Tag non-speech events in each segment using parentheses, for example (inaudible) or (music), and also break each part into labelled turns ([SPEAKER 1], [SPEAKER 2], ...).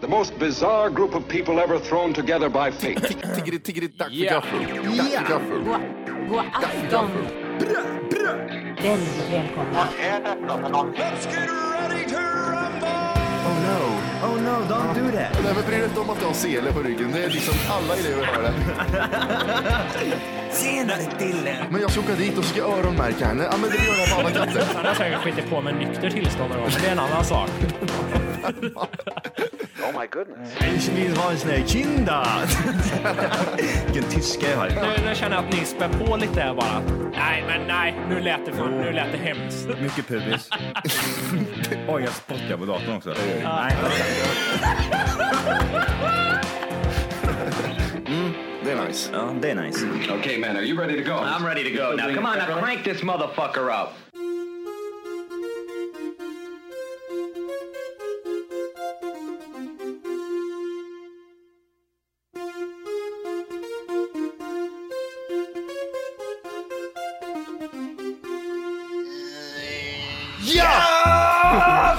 [SPEAKER 1] The most bizarre group of people ever thrown together by fate.
[SPEAKER 2] Tiggeri, tiggeri, dack för
[SPEAKER 3] Yeah.
[SPEAKER 2] gaffel. Dack för gaffel.
[SPEAKER 4] God, god afton. Väldigt välkomna.
[SPEAKER 2] Oh no.
[SPEAKER 5] Oh no, don't do that.
[SPEAKER 2] Nej, men bry dig inte om att jag har sele på ryggen. Det är liksom alla elever har det.
[SPEAKER 5] Senare Dille.
[SPEAKER 2] Men jag ska åka dit och ska öronmärka henne. Ja, men det gör jag på alla katter.
[SPEAKER 3] Han har säkert skitit på med nykter tillstånd då, men det är en annan sak.
[SPEAKER 5] Ich vill ha en sån här kinda. Vilken tyska jag har.
[SPEAKER 3] Nu, nu känner jag att ni spär på lite här bara. Nej, men nej, nu lät det, fan, nu lät det hemskt.
[SPEAKER 6] Mycket pubis. Oj, jag spottar på datorn också. Nej,
[SPEAKER 2] Det är nice.
[SPEAKER 6] ja, det är nice.
[SPEAKER 1] okay, man, are you ready to go?
[SPEAKER 7] I'm ready to go now. Come on, now crank this motherfucker up.
[SPEAKER 2] Ja!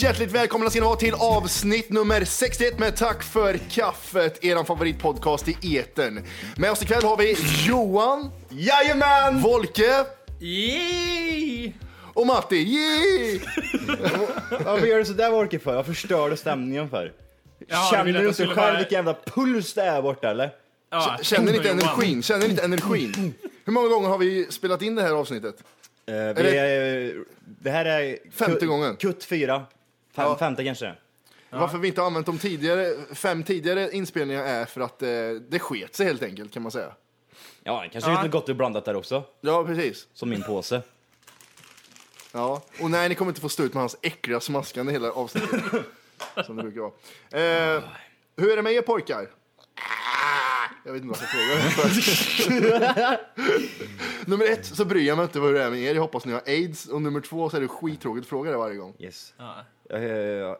[SPEAKER 2] Hjärtligt välkomna ska ni vara till avsnitt nummer 61 med Tack för kaffet, er favoritpodcast i etern. Med oss ikväll har vi Johan,
[SPEAKER 6] Jajamän!
[SPEAKER 2] Volke
[SPEAKER 3] Yay!
[SPEAKER 2] och Matti. Yay!
[SPEAKER 6] Varför gör du sådär Wolke för? Vad förstör du stämningen för?
[SPEAKER 3] Ja, du
[SPEAKER 6] Känner
[SPEAKER 3] vill att
[SPEAKER 6] du
[SPEAKER 3] jag
[SPEAKER 6] inte
[SPEAKER 3] skulle
[SPEAKER 6] själv
[SPEAKER 3] bara-
[SPEAKER 6] vilken jävla puls det är borta eller?
[SPEAKER 3] Ja,
[SPEAKER 2] Känner
[SPEAKER 3] (laughs)
[SPEAKER 2] ni inte
[SPEAKER 3] Johan.
[SPEAKER 2] energin? Känner ni inte energin? Hur många gånger har vi spelat in det här avsnittet?
[SPEAKER 6] Eh,
[SPEAKER 2] det-
[SPEAKER 6] vi är, eh, det här är...
[SPEAKER 2] Femte
[SPEAKER 6] kut-
[SPEAKER 2] gången.
[SPEAKER 6] Kutt fyra. Fem,
[SPEAKER 2] Ja.
[SPEAKER 6] Femte kanske.
[SPEAKER 2] Varför vi inte har använt de tidigare, fem tidigare inspelningar är för att eh, det sket sig helt enkelt kan man säga.
[SPEAKER 6] Ja, det kanske är lite gott och blandat där också.
[SPEAKER 2] Ja, precis.
[SPEAKER 6] Som min påse.
[SPEAKER 2] Ja. Och nej, ni kommer inte få stå ut med hans äckliga smaskande hela (laughs) avsnittet. som det brukar vara. Eh, hur är det med er pojkar? Ah! Jag vet inte vad jag ska fråga. (laughs) nummer ett så bryr jag mig inte vad det är med er. Jag hoppas ni har aids. Och nummer två så är det skittråkigt att fråga det varje gång.
[SPEAKER 6] Yes.
[SPEAKER 3] Ja.
[SPEAKER 6] Eh, ja.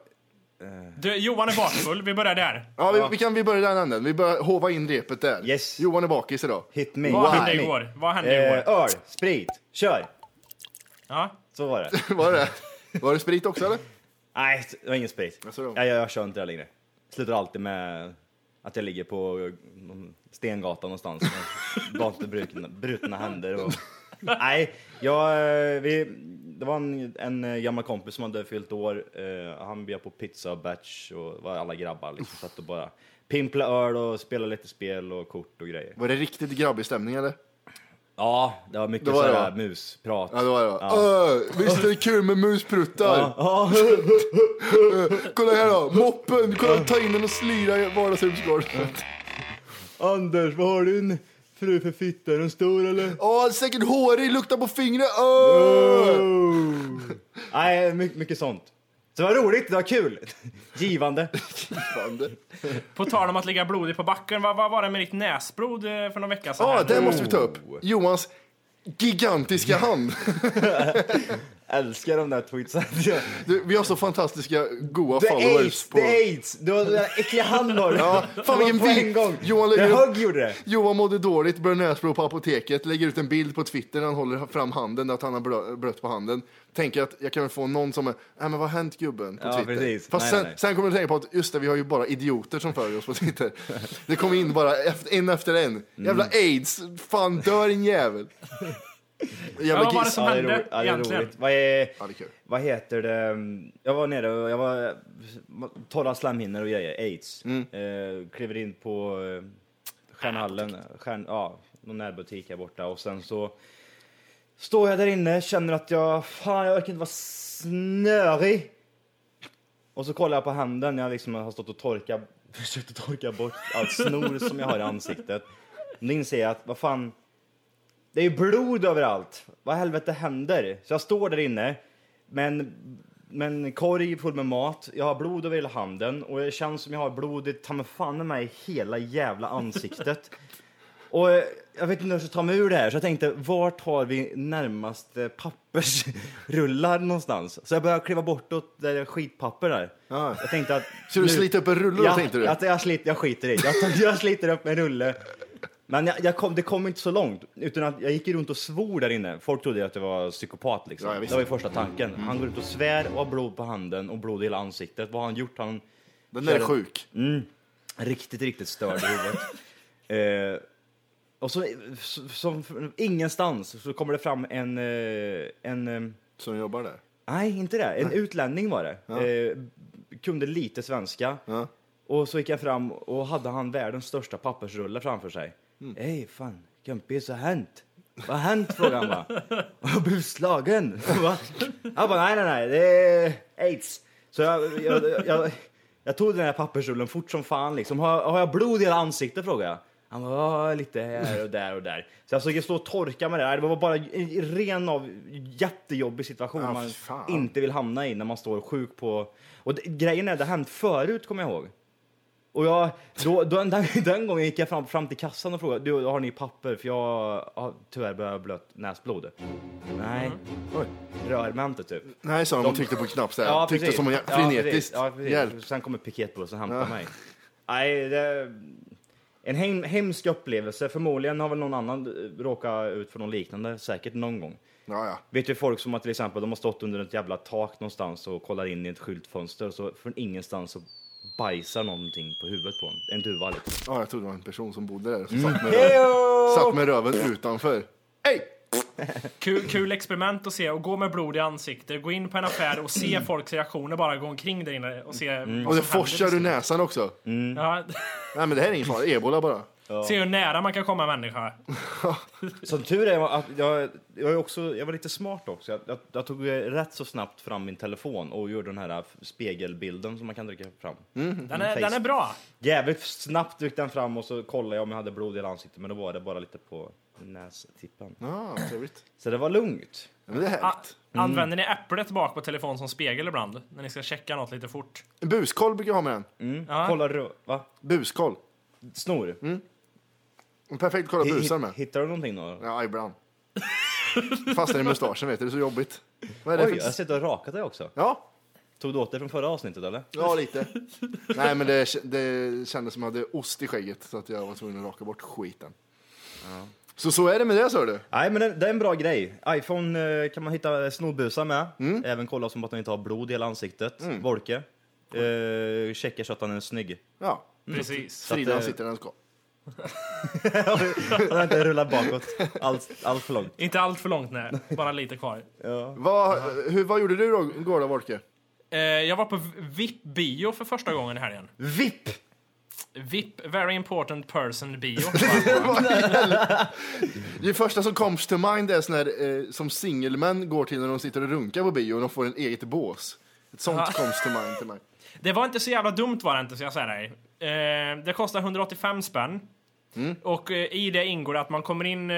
[SPEAKER 3] Du, Johan är bakfull, vi börjar där.
[SPEAKER 2] Ja, vi, vi kan vi börjar i den änden. Vi börjar hova in repet där.
[SPEAKER 6] Yes.
[SPEAKER 2] Johan är bakis (laughs) idag.
[SPEAKER 6] Hit me.
[SPEAKER 3] Vad
[SPEAKER 6] hit
[SPEAKER 3] hände
[SPEAKER 6] me.
[SPEAKER 3] igår? Vad hände
[SPEAKER 6] Eh,
[SPEAKER 3] igår?
[SPEAKER 6] öl, sprit, kör!
[SPEAKER 3] Ja.
[SPEAKER 6] Så var det.
[SPEAKER 2] Var det Var det sprit också eller?
[SPEAKER 6] Nej, det var ingen sprit.
[SPEAKER 2] Vad sa du?
[SPEAKER 6] Jag, jag kör inte det längre. Slutar alltid med att jag ligger på någon Stengatan någonstans. Gott och (laughs) brutna, brutna
[SPEAKER 2] (laughs)
[SPEAKER 6] händer. Och... Nej, jag, eh, vi, det var en, en eh, gammal kompis som hade fyllt år. Eh, han bjöd på pizza och batch och det var alla grabbar liksom. Satt och bara pimpla öl och spela lite spel och kort och grejer.
[SPEAKER 2] Var det riktigt grabbig stämning eller?
[SPEAKER 6] Ja, det var mycket
[SPEAKER 2] Det var det,
[SPEAKER 6] sådär
[SPEAKER 2] va?
[SPEAKER 6] musprat.
[SPEAKER 2] Ja det var det va?
[SPEAKER 6] Ja.
[SPEAKER 2] Öh, visst är det kul med muspruttar?
[SPEAKER 6] Ja,
[SPEAKER 2] (laughs) Kolla här då, moppen! Kolla, ta in den och slira i vardagsrumsgolvet.
[SPEAKER 6] Anders, vad har din fru för fitta? Är den stor eller?
[SPEAKER 2] Ja, säkert hårig, lukta på fingret. Öh!
[SPEAKER 6] Nej, mycket, mycket sånt. Så det var roligt, det var kul. (laughs) Givande.
[SPEAKER 2] Fan, det-
[SPEAKER 3] På tal om att ligga blodig på backen, vad, vad var det med ditt näsblod eh, för någon vecka sedan?
[SPEAKER 2] Ja,
[SPEAKER 3] här?
[SPEAKER 2] det måste vi ta upp. Johans gigantiska (laughs) hand.
[SPEAKER 6] Älskar de där tweetsen. (laughs)
[SPEAKER 2] Du, vi har så fantastiska, goa
[SPEAKER 6] Det är
[SPEAKER 2] followers.
[SPEAKER 6] aids,
[SPEAKER 2] På...
[SPEAKER 6] det är aids! Du har den där äckliga handen har du.
[SPEAKER 2] Ja, fan,
[SPEAKER 6] Det var
[SPEAKER 2] vilken
[SPEAKER 6] på
[SPEAKER 2] bild.
[SPEAKER 6] en gång.
[SPEAKER 2] Johan
[SPEAKER 6] det
[SPEAKER 2] lägger upp-
[SPEAKER 6] högg gjorde det.
[SPEAKER 2] Johan mådde dåligt, börjar näsblod på apoteket, lägger ut en bild på Twitter när han håller fram handen, att han har blö- blött på handen. Tänker att jag kan väl få någon som är, nej men vad har hänt gubben på
[SPEAKER 6] Ja,
[SPEAKER 2] Twitter?
[SPEAKER 6] precis.
[SPEAKER 2] Fast
[SPEAKER 6] Nej,
[SPEAKER 2] sen,
[SPEAKER 6] nej, nej.
[SPEAKER 2] sen kommer du tänka på att just det, vi har ju bara idioter som följer oss på Twitter. Det kommer in bara efter, en efter en. Jävla aids, fan dör din jävel.
[SPEAKER 3] Ja,
[SPEAKER 2] Jävla
[SPEAKER 3] vad var det
[SPEAKER 2] gis.
[SPEAKER 3] som
[SPEAKER 6] det är
[SPEAKER 3] hände
[SPEAKER 6] roligt. Ja, det är
[SPEAKER 3] egentligen?
[SPEAKER 6] roligt. Vad, är,
[SPEAKER 2] Ja, det är kul.
[SPEAKER 6] vad heter det? mm, Jag var nere och jag var torra slemhinnor och grejer, aids. Eh, kliver in på eh, Stjärnhallen, Stjärn, ja, någon närbutik här borta och sen så står jag där inne, känner att jag, fan jag orkar inte vara snörig. Och så kollar jag på handen, jag liksom har stått och torkat, (laughs) försökt att torka bort allt snor som jag har i ansiktet. Nu inser jag att, vad fan, det är ju blod överallt. Vad i helvete händer? Så jag står där inne men men korg full med mat, jag har blod över hela handen och det känns som jag har blod i ta mig fan i mig hela
[SPEAKER 2] (laughs)
[SPEAKER 6] jävla ansiktet. och eh, jag vet inte hur jag ska ta mig ur det här så jag tänkte vart har vi närmaste pappersrullar någonstans? Så jag började kliva bortåt där det är skitpapper där.
[SPEAKER 2] Ja.
[SPEAKER 6] Jag tänkte att...
[SPEAKER 2] Så du sliter upp en rulle då,
[SPEAKER 6] ja,
[SPEAKER 2] tänkte du?
[SPEAKER 6] Att jag, slit, jag skiter i det. Jag, tar- jag sliter upp en rulle. Men jag, jag kom, det kom inte så långt. Utan att jag gick ju runt och svor där inne. Folk trodde ju att jag var psykopat. Liksom.
[SPEAKER 2] Ja, jag
[SPEAKER 6] det
[SPEAKER 2] visste.
[SPEAKER 6] var ju första tanken. Han går ut och svär och har blod på handen och blod i hela ansiktet. Vad har han gjort? Han
[SPEAKER 2] Den Mm. där är sjuk.
[SPEAKER 6] Riktigt, riktigt störd
[SPEAKER 2] (laughs)
[SPEAKER 6] i huvudet. eh, och så, så- som från ingenstans, så kommer det fram en, eh, en eh,
[SPEAKER 2] Som jobbar där.
[SPEAKER 6] nej inte det, en utlänning var det. Eh, kunde lite svenska.
[SPEAKER 2] Ja.
[SPEAKER 6] Och så gick jag fram och hade han världens största pappersrulle framför sig. Hej fan, kompis, vad har hänt? Vad har hänt? frågade han bara. (laughs) Jag har blivit slagen. Va? Jag bara, nej, nej, nej, det är aids. Så jag, jag, jag, jag tog den här pappersrullen fort som fan liksom. Har, har jag blod i hela ansiktet? frågade jag. Han bara, "Ja, lite här och där och där. Så jag försöker stå och torka med det här. Det var bara en ren av jättejobbig situation
[SPEAKER 2] Ja,
[SPEAKER 6] man
[SPEAKER 2] fan.
[SPEAKER 6] inte vill hamna i när man står sjuk på... Och det, grejen är, det har hänt förut kommer jag ihåg. Och jag, då, då, den, den gången gick jag fram, fram till kassan och frågade, du har ni papper? För jag har tyvärr börjat blött näsblod. Nej.
[SPEAKER 2] Oj.
[SPEAKER 6] Rör mig inte typ.
[SPEAKER 2] Nej, sa de och tryckte på en knapp så här. tryckte
[SPEAKER 6] precis.
[SPEAKER 2] som en
[SPEAKER 6] Ja,
[SPEAKER 2] jä- frenetiskt.
[SPEAKER 6] precis. Ja, precis.
[SPEAKER 2] Hjälp.
[SPEAKER 6] Sen kommer piketbussen och hämtar mig. Nej, det... En hem, hemsk upplevelse. Förmodligen har väl någon annan eh, råkat ut för något liknande, säkert någon gång.
[SPEAKER 2] Ja, ja.
[SPEAKER 6] Vet ju folk som att till exempel de har stått under ett jävla tak någonstans och kollar in i ett skyltfönster så från ingenstans så bajsar någonting på huvudet på en. En duva liksom.
[SPEAKER 2] ja, jag trodde det var en person som bodde där. Som satt, med, satt med röven utanför. Mm. Hej!
[SPEAKER 3] Kul, kul experiment att se och gå med blod i ansiktet, gå in på en affär och se folks reaktioner bara, gå omkring där inne och se
[SPEAKER 2] Mm. Och
[SPEAKER 3] vad
[SPEAKER 2] det Mm.
[SPEAKER 3] som
[SPEAKER 2] forsar ur
[SPEAKER 3] händer.
[SPEAKER 2] näsan också.
[SPEAKER 3] Ja,
[SPEAKER 2] Nej, men det här är ingen (laughs) fara. Ebola bara.
[SPEAKER 3] (laughs) se hur nära man kan komma en
[SPEAKER 2] Mm.
[SPEAKER 3] människa.
[SPEAKER 6] Som tur är att jag, jag, är också, jag var lite smart också. Jag, jag, jag tog eh, rätt så snabbt fram min telefon och gjorde den här eh, spegelbilden som man kan trycka fram.
[SPEAKER 2] Mm.
[SPEAKER 3] Den är,
[SPEAKER 6] Face.
[SPEAKER 3] den är bra.
[SPEAKER 6] Jävligt snabbt dök den fram och så kollade jag om jag hade blod i hela ansiktet men då var det bara lite på nästippen.
[SPEAKER 2] Ja, trevligt.
[SPEAKER 6] Så det var lugnt.
[SPEAKER 2] Ja, men det är
[SPEAKER 3] A-
[SPEAKER 2] härligt.
[SPEAKER 3] Ah, Använder ni äpplet bak på telefon som spegel ibland? När ni ska checka något lite fort?
[SPEAKER 2] En buskoll brukar jag ha med den.
[SPEAKER 6] Kolla rö- va?
[SPEAKER 2] Buskoll.
[SPEAKER 6] Snor?
[SPEAKER 2] En perfekt att kolla
[SPEAKER 6] Hi-
[SPEAKER 2] Mm. busar med.
[SPEAKER 6] Hittar du någonting då?
[SPEAKER 2] Ja, ibland. Fastnar i mustaschen, vet du. Det är så jobbigt. Vad är det
[SPEAKER 6] Oj, jag
[SPEAKER 2] för...
[SPEAKER 6] har sett och rakat dig också.
[SPEAKER 2] Ja,
[SPEAKER 6] Tog du åt dig från förra avsnittet eller?
[SPEAKER 2] ja lite. Nej, men det, det kändes som att jag hade ost i skägget så att jag var tvungen att raka bort skiten. Så så är det med det, sa du.
[SPEAKER 6] Nej men det, det är en bra grej. Iphone eh, kan man hitta snorbusar med.
[SPEAKER 2] Mm.
[SPEAKER 6] Även kolla som att den inte har blod i hela ansiktet. Volke. Eh, checkar så att han
[SPEAKER 2] (laughs)
[SPEAKER 6] är snygg.
[SPEAKER 2] Ja,
[SPEAKER 3] Precis.
[SPEAKER 2] Frida
[SPEAKER 6] eh,
[SPEAKER 2] sitter där den ska.
[SPEAKER 6] Han har inte rullat bakåt allt, allt för långt.
[SPEAKER 3] Inte allt för långt nej, bara lite kvar.
[SPEAKER 2] Vad, hur, vad gjorde du då igår då, Volke?
[SPEAKER 3] Eh, jag var på VIP-bio för första gången i helgen.
[SPEAKER 6] VIP!
[SPEAKER 3] VIP, Very Important Person-bio.
[SPEAKER 2] Det första som comes to mind är sån här eh, som singelmän går till när de sitter och runkar på bio och de får en eget bås. Ett sånt comes to mind till mig.
[SPEAKER 3] Det var inte så jävla dumt var det inte, så jag säger dig. Eh, det kostar 185 spänn. Och eh, i det ingår att man kommer in, eh,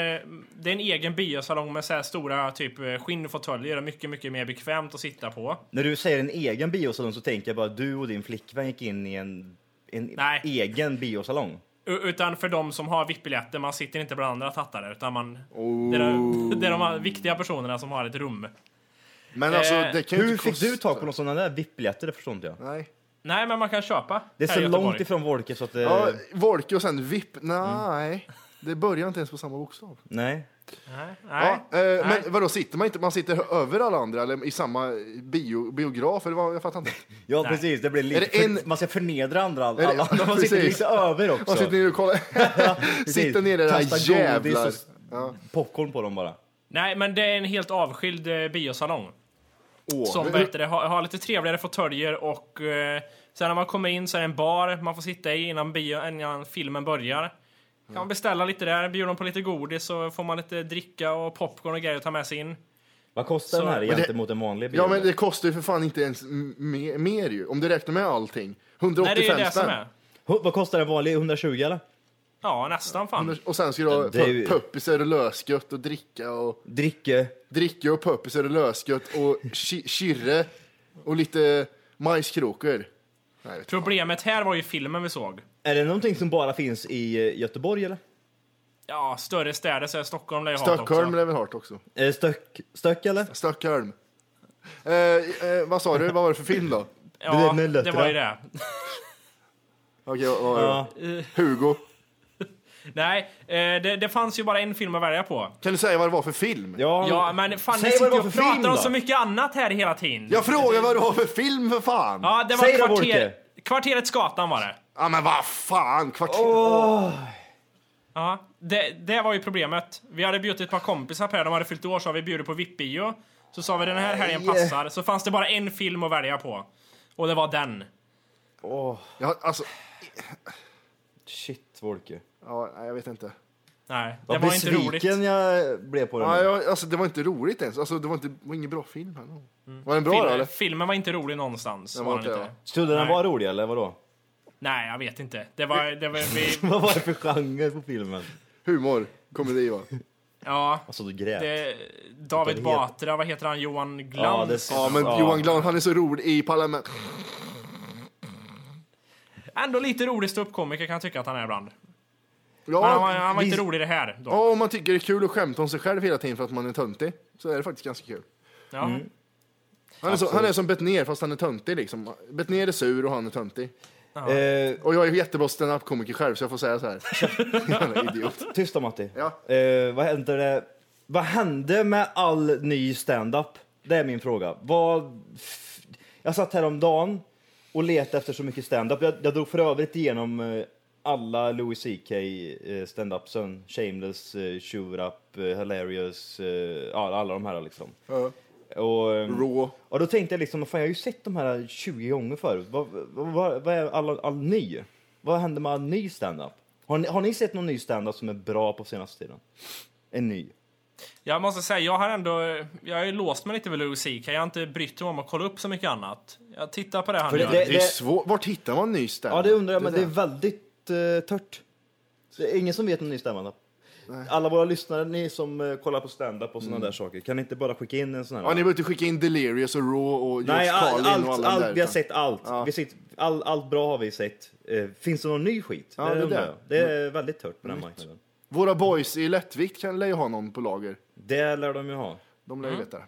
[SPEAKER 3] det är en egen biosalong med så här stora typ eh, skinnfåtöljer och mycket, mycket mer bekvämt att sitta på.
[SPEAKER 6] När du säger en egen biosalong så tänker jag bara att du och din flickvän gick in i en, en
[SPEAKER 3] Nej.
[SPEAKER 6] egen biosalong.
[SPEAKER 3] U- Utan för de som har VIP-biljetter, man sitter inte bland andra tattare utan man...
[SPEAKER 6] Oh.
[SPEAKER 3] Det, är de, det är de viktiga personerna som har ett rum.
[SPEAKER 2] Men alltså,
[SPEAKER 3] Eh,
[SPEAKER 2] det kan ju
[SPEAKER 6] Hur
[SPEAKER 2] inte
[SPEAKER 6] fick du
[SPEAKER 2] kosta-
[SPEAKER 6] tag på någon sån där VIP-biljetter? Det förstår inte jag.
[SPEAKER 2] Nej.
[SPEAKER 3] Nej, men man kan köpa.
[SPEAKER 6] Det är
[SPEAKER 3] här
[SPEAKER 6] så
[SPEAKER 3] i
[SPEAKER 6] långt
[SPEAKER 3] Göteborg.
[SPEAKER 6] ifrån Volke så att det...
[SPEAKER 2] Ja, Volke Eh, och sen VIP. Nej, det börjar inte ens på samma bokstav.
[SPEAKER 6] Nej.
[SPEAKER 3] Nej,
[SPEAKER 2] Ja,
[SPEAKER 3] nej.
[SPEAKER 2] eh, men vadå, sitter man inte man sitter över alla andra eller i samma bio, biograf? Eller vad, jag fattar inte.
[SPEAKER 6] Ja,
[SPEAKER 3] Nej.
[SPEAKER 6] precis. Det blir lite...
[SPEAKER 2] Är det en-
[SPEAKER 6] för- Man ska förnedra andra.
[SPEAKER 2] det- (laughs)
[SPEAKER 6] alla. Man sitter
[SPEAKER 2] Precis.
[SPEAKER 6] lite över också.
[SPEAKER 2] Man sitter ner och kollar.
[SPEAKER 6] (laughs) Precis.
[SPEAKER 2] sitter ner där,
[SPEAKER 6] Kasta godis
[SPEAKER 2] jävlar.
[SPEAKER 6] och s- popcorn på dem bara.
[SPEAKER 3] nej, men det är en helt avskild eh, biosalong.
[SPEAKER 2] Åh,
[SPEAKER 3] Som
[SPEAKER 2] men-
[SPEAKER 3] vad heter det, har, har lite trevligare fåtöljer och eh, sen när man kommer in så är det en bar man får sitta i innan, bio, innan filmen börjar. Kan man beställa lite där, bjuder de på lite godis så får man lite dricka och popcorn och grejer att ta med sig in.
[SPEAKER 6] Vad kostar
[SPEAKER 3] Så-
[SPEAKER 6] den här
[SPEAKER 3] Men
[SPEAKER 2] det-
[SPEAKER 6] gentemot en vanlig bio?
[SPEAKER 2] Ja, men det kostar ju för fan inte ens m- mer, mer ju. Om du räknar med allting. 185
[SPEAKER 3] Nej, det är ju det som
[SPEAKER 2] spänn.
[SPEAKER 3] är.
[SPEAKER 6] Hu- Vad kostar en vanlig? 120 eller?
[SPEAKER 3] Ja, nästan fan.
[SPEAKER 2] Och sen ska du ha
[SPEAKER 6] Det är ju-
[SPEAKER 2] pu- puppisar och lösgött och dricka och
[SPEAKER 6] Dricke.
[SPEAKER 2] dricka och puppisar och lösgött och ki- kirre och lite majskrokor. Nej, jag vet
[SPEAKER 3] Problemet här var ju filmen vi såg.
[SPEAKER 6] Är det någonting som bara finns i eh, Göteborg eller?
[SPEAKER 3] Ja, större städer så är Stockholm lär ju ha det
[SPEAKER 2] Stockholm
[SPEAKER 3] också.
[SPEAKER 2] är väl hårt också.
[SPEAKER 6] Är det Stöck, stöck Eh, eller?
[SPEAKER 2] Stockholm. Eh, eh, vad sa du? Vad var det för film då?
[SPEAKER 3] Ja,
[SPEAKER 6] Det är
[SPEAKER 3] det var ju det.
[SPEAKER 2] Okej, vad var det? Hugo.
[SPEAKER 3] Nej, eh, det, det fanns ju bara en film att välja på.
[SPEAKER 2] Kan du säga vad det var för film?
[SPEAKER 6] Ja,
[SPEAKER 3] Ja, men fan
[SPEAKER 6] Säg
[SPEAKER 3] ni
[SPEAKER 6] vad
[SPEAKER 3] sitter
[SPEAKER 6] det
[SPEAKER 3] ju
[SPEAKER 6] var
[SPEAKER 3] och
[SPEAKER 6] för film,
[SPEAKER 3] pratar om
[SPEAKER 6] då.
[SPEAKER 3] så mycket annat här hela tiden.
[SPEAKER 2] Jag frågar vad det var för film för fan!
[SPEAKER 3] Ja, det var
[SPEAKER 6] Säg då,
[SPEAKER 3] kvarter,
[SPEAKER 6] Wolke.
[SPEAKER 3] Kvarteret Skatan var det.
[SPEAKER 2] Ja men vad fan, kvarter...
[SPEAKER 3] Ja, det, det var ju problemet. Vi hade bjudit ett par kompisar på det, de hade fyllt år, så har vi bjudit på VIP-bio. Så sa vi den här helgen passar, så fanns det bara en film att välja på. Och det var den.
[SPEAKER 2] Ja, alltså,
[SPEAKER 6] Shit, Volke.
[SPEAKER 2] ja, nej, jag vet inte.
[SPEAKER 3] Nej, det
[SPEAKER 6] Vad
[SPEAKER 3] var inte roligt.
[SPEAKER 6] besviken jag blev på den.
[SPEAKER 2] Ja,
[SPEAKER 6] där.
[SPEAKER 2] jag, alltså, det var inte roligt ens. Alltså, det var, inte, det var ingen bra film. Heller. Var den bra då
[SPEAKER 3] Filmen,
[SPEAKER 2] eller?
[SPEAKER 3] filmen var inte rolig någonstans.
[SPEAKER 2] Den
[SPEAKER 3] var
[SPEAKER 2] var
[SPEAKER 3] den
[SPEAKER 2] inte,
[SPEAKER 3] inte.
[SPEAKER 6] Trodde den
[SPEAKER 3] Nej.
[SPEAKER 6] var rolig eller vadå? (laughs)
[SPEAKER 3] Nej, jag vet inte. Det var... Det var vi,
[SPEAKER 6] Vad var det för genre på filmen?
[SPEAKER 2] Humor, komedi (laughs) va?
[SPEAKER 3] ja,
[SPEAKER 6] Alltså du grät.
[SPEAKER 3] det, David Batra, vad heter han? Johan
[SPEAKER 6] Ja,
[SPEAKER 3] Glans?
[SPEAKER 6] det syns.
[SPEAKER 2] Ja men
[SPEAKER 6] Ja.
[SPEAKER 2] Johan Glans han är så rolig i Parlament.
[SPEAKER 3] Ändå lite rolig ståuppkomiker kan jag tycka att han är ibland.
[SPEAKER 2] Ja,
[SPEAKER 3] Men han, var- han var inte
[SPEAKER 2] visst.
[SPEAKER 3] rolig i det här. Då.
[SPEAKER 2] Ja, om man tycker det är kul att skämta om sig själv hela tiden för att man är töntig så är det faktiskt ganska kul.
[SPEAKER 3] Ja.
[SPEAKER 6] Mm.
[SPEAKER 2] Han är, så, han är som Bettner fast han är töntig liksom. Bettner är sur och han är töntig.
[SPEAKER 6] Eh,
[SPEAKER 2] Och jag är jättebra standup-komiker själv så jag får säga så här. (laughs) Jävla idiot.
[SPEAKER 6] tyst då Matti.
[SPEAKER 2] Ja.
[SPEAKER 6] Eh, vad hände det? Vad hände med all ny stand-up? Det är min fråga. Vad... f- Jag satt häromdagen och letade efter så mycket stand-up. Jag, jag drog för övrigt igenom eh, alla Louis CK eh, stand-upsen. Shameless, eh, Shoot Up, eh, Hilarious, eh, ja, alla de här liksom.
[SPEAKER 2] Ja.
[SPEAKER 6] Och, ehm,
[SPEAKER 2] Rå.
[SPEAKER 6] Och då tänkte jag liksom, fan, jag har ju sett de här 20 gånger förut. Vad, vad, vad, vad är all, all ny? Vad händer med all ny standup? Har ni, har ni sett någon ny standup som är bra på senaste tiden? En ny?
[SPEAKER 3] Jag måste säga, jag har ändå... Jag har ju låst mig lite vid Louis CK. Jag har inte brytt mig om att kolla upp så mycket annat. Jag tittar på det han
[SPEAKER 6] För det-
[SPEAKER 3] gör.
[SPEAKER 2] Det är svårt. Vart hittar man ny standup?
[SPEAKER 6] ja, det undrar jag, men det är
[SPEAKER 2] är
[SPEAKER 6] väldigt eh, tört. Det är ingen som vet någon ny standup. Alla våra lyssnare, ni som eh, kollar på standup och sådana där saker, kan ni inte bara skicka in en sån här?
[SPEAKER 2] Ja, ni behöver inte skicka in Delirious och Raw och
[SPEAKER 6] Nej,
[SPEAKER 2] George
[SPEAKER 6] all,
[SPEAKER 2] Carlin
[SPEAKER 6] allt,
[SPEAKER 2] och alla de där.
[SPEAKER 6] allt, vi har
[SPEAKER 2] utan-
[SPEAKER 6] sett allt. Vi sitt, all, allt bra har vi sett. Eh, finns det någon ny skit?
[SPEAKER 2] Ja, det Mm.
[SPEAKER 6] undrar
[SPEAKER 2] där.
[SPEAKER 6] jag. det är väldigt tört på den här marknaden.
[SPEAKER 2] Våra boys i lättvikt kan lär ju ha någon på lager.
[SPEAKER 6] Det lär de ju ha.
[SPEAKER 2] De lär
[SPEAKER 6] Mm.
[SPEAKER 2] ju veta det.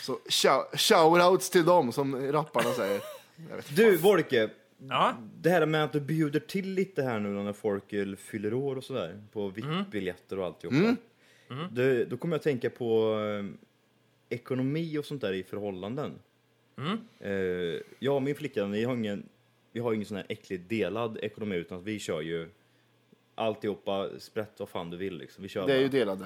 [SPEAKER 2] Så shou- shoutouts till dem som rapparna
[SPEAKER 6] (laughs)
[SPEAKER 2] säger.
[SPEAKER 6] Du, Volke.
[SPEAKER 3] Ja.
[SPEAKER 6] Det här med att du bjuder till lite här nu när folk eh, fyller år och sådär. På VIP-biljetter och alltihopa.
[SPEAKER 2] Mm.
[SPEAKER 6] Du, då kommer jag att tänka på eh, ekonomi och sånt där i förhållanden. Eh, jag och min flicka, vi har ingen, vi har ingen sån här äckligt delad ekonomi utan att vi kör ju alltihopa, sprätt vad fan du vill liksom. Vi kör
[SPEAKER 2] Det är
[SPEAKER 6] bara.
[SPEAKER 2] ju delade.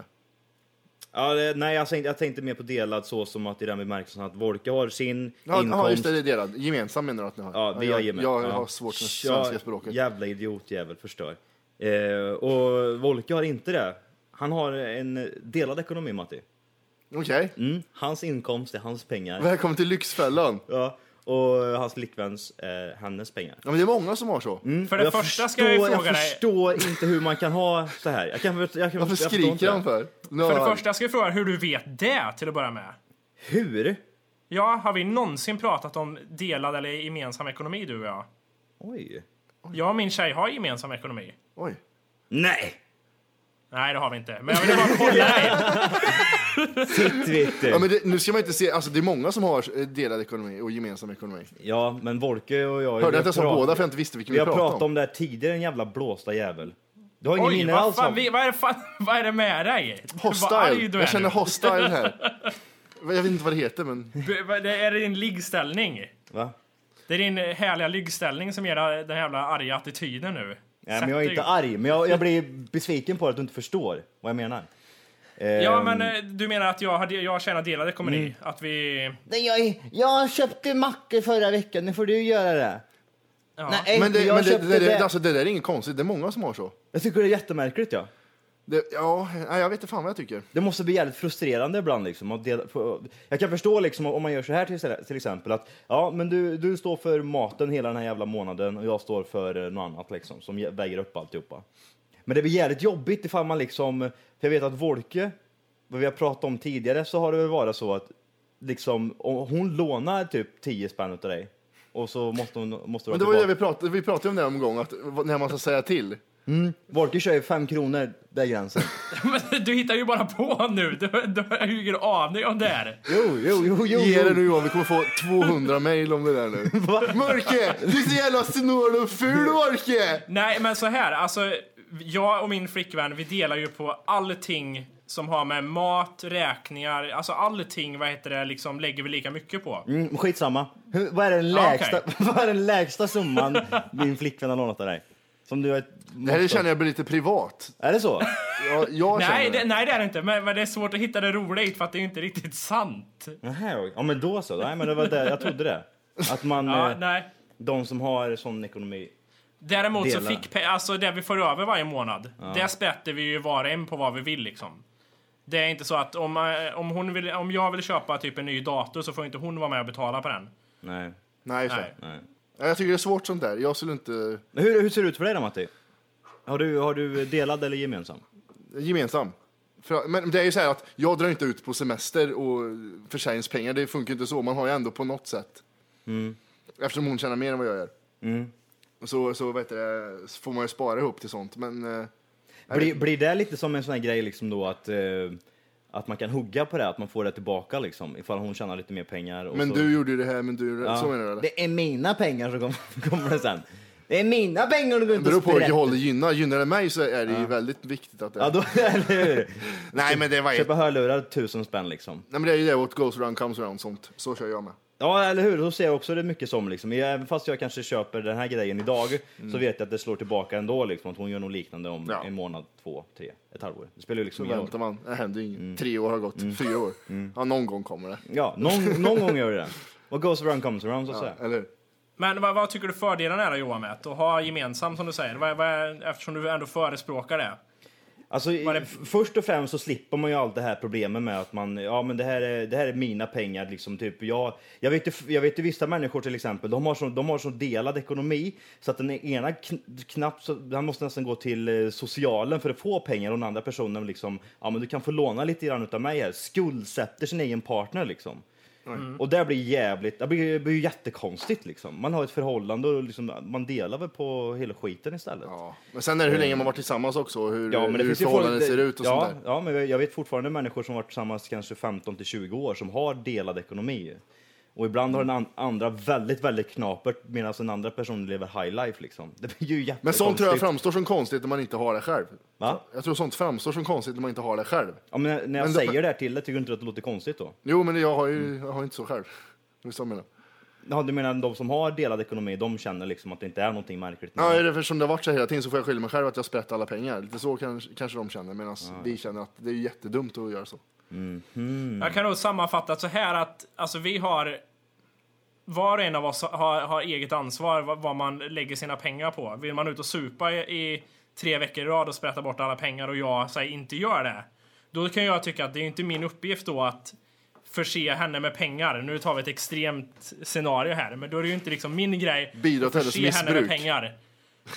[SPEAKER 6] Ja, det, nej, jag tänkte, jag tänkte mer på delad så som att i den bemärkelsen att Volke har sin
[SPEAKER 2] Ja,
[SPEAKER 6] inkomst.
[SPEAKER 2] ja, just det, det är delad. Gemensam menar du att ni har?
[SPEAKER 6] Ja, vi
[SPEAKER 2] jag,
[SPEAKER 6] har gemensamt.
[SPEAKER 2] Jag,
[SPEAKER 6] ja.
[SPEAKER 2] har svårt med
[SPEAKER 6] Tja,
[SPEAKER 2] svenska språket.
[SPEAKER 6] Jävla idiotjävel, förstör. Eh, och Volke har inte det. Han har en delad ekonomi, Matti.
[SPEAKER 2] Okej,
[SPEAKER 6] Mm. Hans inkomst är hans pengar.
[SPEAKER 2] välkommen till Lyxfällan.
[SPEAKER 6] Ja, och hans flickväns är hennes pengar.
[SPEAKER 2] Ja, men det är många som har så.
[SPEAKER 6] Mm,
[SPEAKER 3] För det
[SPEAKER 6] jag
[SPEAKER 3] första ska jag ju fråga
[SPEAKER 6] Jag
[SPEAKER 3] dig-
[SPEAKER 6] förstår inte hur man kan ha så här. Jag kan, jag kan, jag
[SPEAKER 2] Varför
[SPEAKER 6] förstår inte
[SPEAKER 2] skriker
[SPEAKER 6] det.
[SPEAKER 2] han för? Nu
[SPEAKER 3] För det
[SPEAKER 2] har-
[SPEAKER 3] första ska jag fråga hur du vet det till att börja med.
[SPEAKER 6] Hur?
[SPEAKER 3] Ja, har vi någonsin pratat om delad eller gemensam ekonomi du och jag?
[SPEAKER 6] Oj.
[SPEAKER 3] Jag och min tjej har gemensam ekonomi.
[SPEAKER 2] Oj.
[SPEAKER 6] Nej!
[SPEAKER 3] Nej, det har vi inte. Men jag ville
[SPEAKER 6] (laughs)
[SPEAKER 3] bara kolla dig.
[SPEAKER 6] Du vet
[SPEAKER 2] Ja,
[SPEAKER 6] det.
[SPEAKER 2] men det, nu ska man inte se, alltså det är många som har eh, delad ekonomi och gemensam ekonomi.
[SPEAKER 6] Ja, men Volke och jag...
[SPEAKER 2] Hörde
[SPEAKER 6] vi
[SPEAKER 2] jag att jag sa
[SPEAKER 6] pratar-
[SPEAKER 2] båda för jag inte visste vilken
[SPEAKER 6] Vi
[SPEAKER 2] vi
[SPEAKER 6] har
[SPEAKER 2] pratade
[SPEAKER 6] pratat
[SPEAKER 2] om?
[SPEAKER 6] om det här tidigare, en jävla blåsta jävel. Du har ingen
[SPEAKER 3] Oj,
[SPEAKER 6] minne
[SPEAKER 3] vad,
[SPEAKER 6] alls
[SPEAKER 3] fan,
[SPEAKER 6] om
[SPEAKER 3] vi, vad, är det fan, (laughs) vad är det med dig? Vad arg
[SPEAKER 2] Hostile.
[SPEAKER 3] du är
[SPEAKER 2] Jag känner
[SPEAKER 3] nu.
[SPEAKER 2] hostile
[SPEAKER 6] (laughs)
[SPEAKER 2] här. Jag vet inte vad det heter men...
[SPEAKER 3] B- vad- Det är din liggställning.
[SPEAKER 6] Va?
[SPEAKER 3] Det är din härliga liggställning som ger dig den jävla arga attityden nu.
[SPEAKER 6] Nej, men jag är
[SPEAKER 3] Sätt
[SPEAKER 6] inte
[SPEAKER 3] dig.
[SPEAKER 6] arg, men jag, jag blir besviken på att du inte förstår vad jag menar.
[SPEAKER 3] Ja,
[SPEAKER 6] Ehm, Mm.
[SPEAKER 3] men eh, du menar att jag, har- jag tjänar delad ekonomi? Att vi...
[SPEAKER 6] Nej, jag, jag köpte mackor förra veckan, nu får du göra det.
[SPEAKER 3] Ja.
[SPEAKER 6] Nej,
[SPEAKER 2] Men, det,
[SPEAKER 6] jag
[SPEAKER 2] men det,
[SPEAKER 6] köpte
[SPEAKER 2] det,
[SPEAKER 6] det.
[SPEAKER 2] det, alltså, det där är inget konstigt, det är många som har så.
[SPEAKER 6] Jag tycker det är jättemärkligt, ja.
[SPEAKER 2] Det, ja, nej, jag vet inte fan vad jag tycker.
[SPEAKER 6] Det måste bli jävligt frustrerande ibland. Liksom, att dela, få- jag kan förstå liksom, om man gör så här till, till exempel att ja, men du, du står för maten hela den här jävla månaden och jag står för eh, något annat liksom, som ge- väger upp alltihopa. Men det blir jävligt jobbigt ifall man liksom, för jag vet att Volke, vad vi har pratat om tidigare, så har det väl varit så att liksom, om hon lånar typ 10 spänn utav dig och så måste hon måste du
[SPEAKER 2] Men det
[SPEAKER 6] ha
[SPEAKER 2] var ju det
[SPEAKER 6] tillbaka.
[SPEAKER 2] vi pratade, vi pratade om det en gång, att, vad- när man ska säga till.
[SPEAKER 6] Volke kör ju 5 kronor, där är gränsen.
[SPEAKER 3] (laughs) Men du hittar ju bara på nu. Du, du har ju ingen aning om det här.
[SPEAKER 6] jo, jo, jo, jo.
[SPEAKER 2] Ge det nu Johan, vi kommer få 200 mejl om det där
[SPEAKER 6] (laughs)
[SPEAKER 2] nu. Mörke, du är så jävla snål och ful Mörke!
[SPEAKER 3] Nej, men så här. Alltså, jag och min flickvän, vi delar ju på allting som har med mat, räkningar, alltså allting, vad heter det, liksom lägger vi lika mycket på.
[SPEAKER 6] Mm, skitsamma. Hur, vad, är den
[SPEAKER 3] Ja,
[SPEAKER 6] lägsta, (laughs) vad är den lägsta summan din flickvän har lånat av dig? Som du har ett
[SPEAKER 2] Det här känner jag blir lite privat.
[SPEAKER 6] Är det så?
[SPEAKER 2] Jag, jag
[SPEAKER 3] Nej
[SPEAKER 2] känner
[SPEAKER 3] det,
[SPEAKER 2] det.
[SPEAKER 3] nej, det är det inte, men, men det är svårt att hitta det roliga i för att det är ju inte riktigt sant.
[SPEAKER 6] Nähä, ja men då så. Nej men det var det, jag trodde det. Att man,
[SPEAKER 3] Ja,
[SPEAKER 6] eh,
[SPEAKER 3] nej.
[SPEAKER 6] de som har sån ekonomi.
[SPEAKER 3] Däremot så
[SPEAKER 6] Dela.
[SPEAKER 3] fick pe- alltså det vi får över varje månad, det spätter vi ju var och en på vad vi vill liksom. Det är inte så att om, eh, om, hon vill, om jag vill köpa typ en ny dator så får inte hon vara med och betala på den.
[SPEAKER 6] Nej.
[SPEAKER 2] Nej, just det.
[SPEAKER 3] Nej.
[SPEAKER 6] nej.
[SPEAKER 2] Ja, Jag tycker det är svårt sånt där. Jag skulle inte...
[SPEAKER 6] Men Hur, hur ser det ut för dig då Matti? Har du, har du delad eller gemensam?
[SPEAKER 2] Gemensam. För, men det är ju så här att jag drar inte ut på semester och för tjejens pengar. Det funkar ju inte så. Man har ju ändå på något sätt.
[SPEAKER 6] Mm.
[SPEAKER 2] Eftersom hon tjänar mer än vad jag gör. Så, så, vet det, så får man ju spara ihop till sånt. Men eh,
[SPEAKER 6] Blir, blir det lite som en sån här grej liksom då att, eh, att man kan hugga på det, att man får det tillbaka liksom? Ifall hon tjänar lite mer pengar. Och
[SPEAKER 2] Men
[SPEAKER 6] så,
[SPEAKER 2] du gjorde ju det här, men du gjorde det. Så menar du eller?
[SPEAKER 6] Det är mina pengar som kommer, (laughs) kommer det sen. Det är mina pengar du går
[SPEAKER 2] Det
[SPEAKER 6] ut och
[SPEAKER 2] beror på vilket
[SPEAKER 6] sprätter.
[SPEAKER 2] håll det gynnar. Gynnar det mig så är det ju väldigt viktigt att det...
[SPEAKER 6] Ja, då, (laughs) eller hur?
[SPEAKER 2] Nej men det var ju...
[SPEAKER 6] Köpa hörlurar, tusen spänn liksom.
[SPEAKER 2] Nej men det är ju det, what goes around comes around sånt. Så kör jag med.
[SPEAKER 6] Ja, eller hur? Så ser jag också det mycket som liksom. Jag- Även fast jag kanske köper den här grejen idag så vet jag att det slår tillbaka ändå liksom. Att hon gör något liknande om
[SPEAKER 2] Mm. Ja.
[SPEAKER 6] en månad, två, tre, ett halvår. Det spelar ju liksom
[SPEAKER 2] Så
[SPEAKER 6] ingen roll.
[SPEAKER 2] väntar man. Det händer ju inget.
[SPEAKER 6] Mm.
[SPEAKER 2] Tre år har gått. Fyra år. Ja, någon gång kommer det.
[SPEAKER 6] Ja, någon, någon gång gör det det. What goes around comes around så att
[SPEAKER 2] Ja,
[SPEAKER 6] säga.
[SPEAKER 2] eller hur?
[SPEAKER 3] Men vad, vad tycker du fördelen är då Johan med att ha gemensamt som du säger? Vad, vad är, eftersom du ändå förespråkar det.
[SPEAKER 6] Alltså, i-
[SPEAKER 3] Var det-
[SPEAKER 6] f- Först och främst så slipper man ju allt det här problemet med att man, ja men det här är, det här är mina pengar liksom. Typ. Jag, jag, vet ju, f- jag vet ju vissa människor till exempel, de har så, de har så delad ekonomi så att den e- ena kn- knappt, så- han måste nästan gå till eh, socialen för att få pengar och den andra personen liksom, ja men du kan få låna lite grann utav mig här. Skuldsätter sin egen partner liksom. Och det blir jävligt, det blir, det blir ju jättekonstigt liksom. Man har ett förhållande och liksom, man delar väl på hela skiten istället.
[SPEAKER 2] Ja. Men sen är det hur länge man varit tillsammans också och hur,
[SPEAKER 6] Eh. Ja, men det
[SPEAKER 2] hur
[SPEAKER 6] finns ju
[SPEAKER 2] förhållandet
[SPEAKER 6] folk-
[SPEAKER 2] ser ut och
[SPEAKER 6] ja,
[SPEAKER 2] sånt där.
[SPEAKER 6] Ja, men jag vet fortfarande människor som varit tillsammans kanske 15 till 20 år som har delad ekonomi. Och ibland har den an- andra väldigt, väldigt knapert medan den andra personen lever high life liksom. Det blir ju jättekonstigt.
[SPEAKER 2] Men sånt tror jag framstår som konstigt när man inte har det själv.
[SPEAKER 6] Va?
[SPEAKER 2] Jag tror sånt framstår som konstigt när man inte har det själv.
[SPEAKER 6] Ja, men när jag
[SPEAKER 2] Men då-
[SPEAKER 6] säger det här till dig, tycker du inte att det låter konstigt då?
[SPEAKER 2] Jo, men jag har ju
[SPEAKER 6] Mm.
[SPEAKER 2] jag har ju inte så själv. Det är så jag menar.
[SPEAKER 6] Ja, du menar de som har delad ekonomi, de känner liksom att det inte är någonting märkligt? med
[SPEAKER 2] Ja,
[SPEAKER 6] det?
[SPEAKER 2] är det för som det har varit så här hela tiden så får jag skylla mig själv att jag sprätt alla pengar. Lite så kanske, kanske de känner, medan vi känner att det är ju jättedumt att göra så.
[SPEAKER 3] Jag kan nog sammanfatta så här att alltså, vi har var och en av oss har, har eget ansvar vad, vad man lägger sina pengar på. Vill man ut och supa i, i tre veckor i rad och sprätta bort alla pengar och jag säger inte gör det. Då kan jag tycka att det är inte min uppgift då att förse henne med pengar. Nu tar vi ett extremt scenario här, men då är det ju inte liksom min grej
[SPEAKER 2] Bidra till
[SPEAKER 3] att förse
[SPEAKER 2] hennes
[SPEAKER 3] henne med
[SPEAKER 2] missbruk.
[SPEAKER 3] pengar.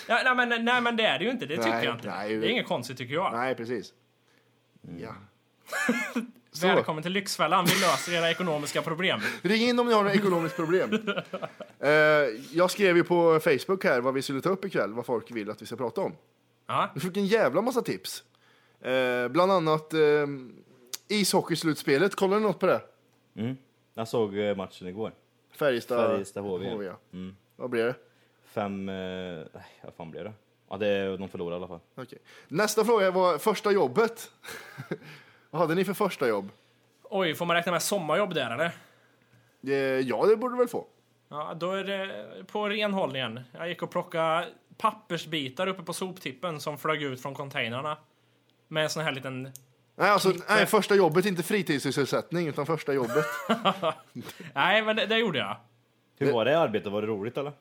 [SPEAKER 3] Ja, nej, men, nej men det är det ju inte, det tycker
[SPEAKER 2] Nej,
[SPEAKER 3] jag inte.
[SPEAKER 2] nej.
[SPEAKER 3] det är inget konstigt tycker jag.
[SPEAKER 2] Nej, precis.
[SPEAKER 6] Mm.
[SPEAKER 2] Ja. så.
[SPEAKER 3] Välkommen till Lyxfällan, vi löser era ekonomiska problem.
[SPEAKER 2] Ring in om ni har några ekonomiskt
[SPEAKER 6] (laughs)
[SPEAKER 2] problem. Eh, jag skrev ju på Facebook här vad vi skulle ta upp ikväll, vad folk vill att vi ska prata om.
[SPEAKER 3] Ja.
[SPEAKER 2] Vi fick en jävla massa tips. Eh, bland annat eh, ishockeyslutspelet, kollar ni något på det?
[SPEAKER 6] Jag såg eh, matchen igår.
[SPEAKER 2] Färjestad,
[SPEAKER 6] Färjestad HV.
[SPEAKER 2] ja. Vad blir det?
[SPEAKER 6] Fem... Eh, nej, vad fan blev det? Ja, det, de förlorade i alla fall.
[SPEAKER 2] Okej. Nästa fråga var första jobbet. (laughs) vad hade ni för första jobb?
[SPEAKER 3] Oj, får man räkna med sommarjobb där eller?
[SPEAKER 2] Eh, ja, det borde du väl få.
[SPEAKER 3] Ja, då är det på renhållningen. Jag gick och plockade pappersbitar uppe på soptippen som flög ut från containrarna. Med en sån här liten...
[SPEAKER 2] Nej, alltså, nej, första jobbet, inte fritidssysselsättning, utan första jobbet. (laughs)
[SPEAKER 3] Nej, men det, det gjorde jag.
[SPEAKER 6] Hur var det arbetet? Var det roligt eller?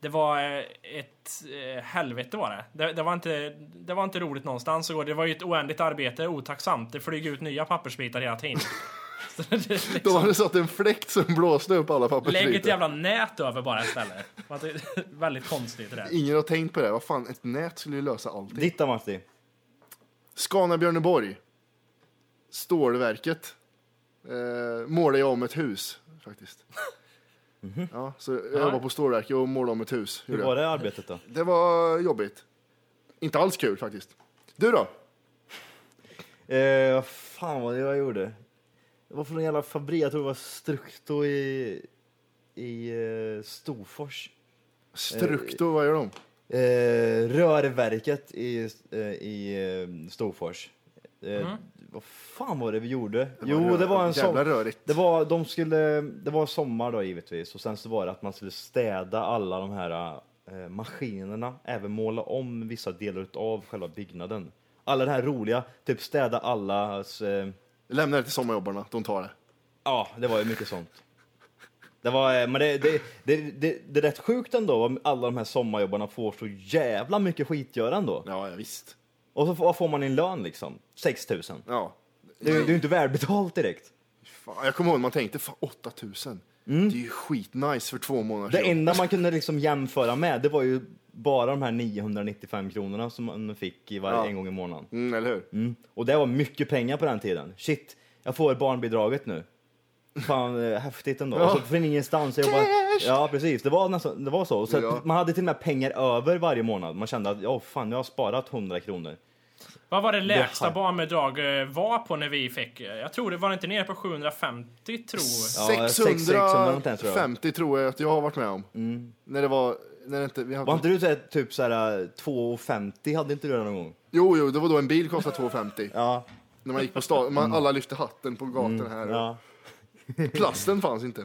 [SPEAKER 3] Det var eh, ett eh, helvete var det. Det, det, var inte, det var inte roligt någonstans igår. Det var ju ett oändligt arbete, otacksamt. Det flyger ut nya pappersbitar hela tiden. (laughs) Så det,
[SPEAKER 2] Då hade det satt en fläkt som blåste upp alla
[SPEAKER 3] lägg ett
[SPEAKER 2] pappersbitar.
[SPEAKER 3] jävla nät över bara istället. Det (laughs) var inte- Väldigt konstigt det där.
[SPEAKER 2] Ingen har tänkt på det. Vad fan, ett nät skulle ju lösa allting.
[SPEAKER 6] Ditt då Matti?
[SPEAKER 2] Skana Björneborg. Stålverket. Eh, målade jag om ett hus, faktiskt. Ja, så jag jobbade på stålverket och målade om ett hus.
[SPEAKER 6] Mhm. Hur
[SPEAKER 2] gjorde jag.
[SPEAKER 6] var det arbetet då?
[SPEAKER 2] Det var jobbigt. Inte alls kul faktiskt. Du då?
[SPEAKER 6] Eh, vad fan var det jag gjorde? Det var från en jävla fabrik, jag tror det var Strukto i, i eh, Storfors.
[SPEAKER 2] Strukto, vad gör de?
[SPEAKER 6] Eh, rörverket i, eh, i eh, Storfors. Eh, Vad fan var det vi gjorde? jo,
[SPEAKER 2] rör-
[SPEAKER 6] det var en sån...
[SPEAKER 2] jävla rörigt.
[SPEAKER 6] Det var, de skulle, det var sommar då givetvis och sen så var det att man skulle städa alla de här eh, maskinerna, även måla om vissa delar av själva byggnaden. Alla det här roliga, typ städa allas... Eh,
[SPEAKER 2] Lämna det till sommarjobbarna, de tar det.
[SPEAKER 6] Ja, det var ju mycket sånt. Det var, eh, men det, det, det, det, det är rätt sjukt ändå, vad alla de här sommarjobbarna får så jävla mycket skitgöra ändå.
[SPEAKER 2] Ja, ja visst.
[SPEAKER 6] Och så får, vad får man i en lön liksom? 6 000.
[SPEAKER 2] Ja.
[SPEAKER 6] Det, är- det är ju inte välbetalt direkt.
[SPEAKER 2] Fan, jag kommer ihåg när man tänkte, fan 8000. Det är ju skitnice för två månader
[SPEAKER 6] Mm. Det enda man kunde liksom jämföra med, det var ju bara de här 995 kronorna som man fick i varje,
[SPEAKER 2] Ja.
[SPEAKER 6] en gång i månaden.
[SPEAKER 2] Mm, eller hur?
[SPEAKER 6] Mm. Och det var mycket pengar på den tiden. Shit, jag får barnbidraget nu. Fan, eh, häftigt ändå. Och så från ingenstans. Jag bara, ja, precis. Det var, nästan, det var så. Och så att
[SPEAKER 2] Ja.
[SPEAKER 6] Man hade till och med pengar över varje månad. Man kände att oh, fan, jag har sparat 100 kronor.
[SPEAKER 3] Vad var det lägsta
[SPEAKER 6] har-
[SPEAKER 3] barnbidrag eh, var på när vi fick? eh, Jag tror det var inte nere på 750, tror jag.
[SPEAKER 6] Ja, sex- 600 någonting, tror jag. Mm.
[SPEAKER 2] 650 tror jag att jag har varit med om. När det var... När det inte, vi hade
[SPEAKER 6] Var inte du så här, typ så här, eh, 2,50 hade inte du det någon gång?
[SPEAKER 2] Jo, jo, det var då en bil kostade 250.
[SPEAKER 6] Ja. Mm,
[SPEAKER 2] När man gick på stan, man, alla lyfte hatten på gatan här.
[SPEAKER 6] ja.
[SPEAKER 2] Plasten fanns inte.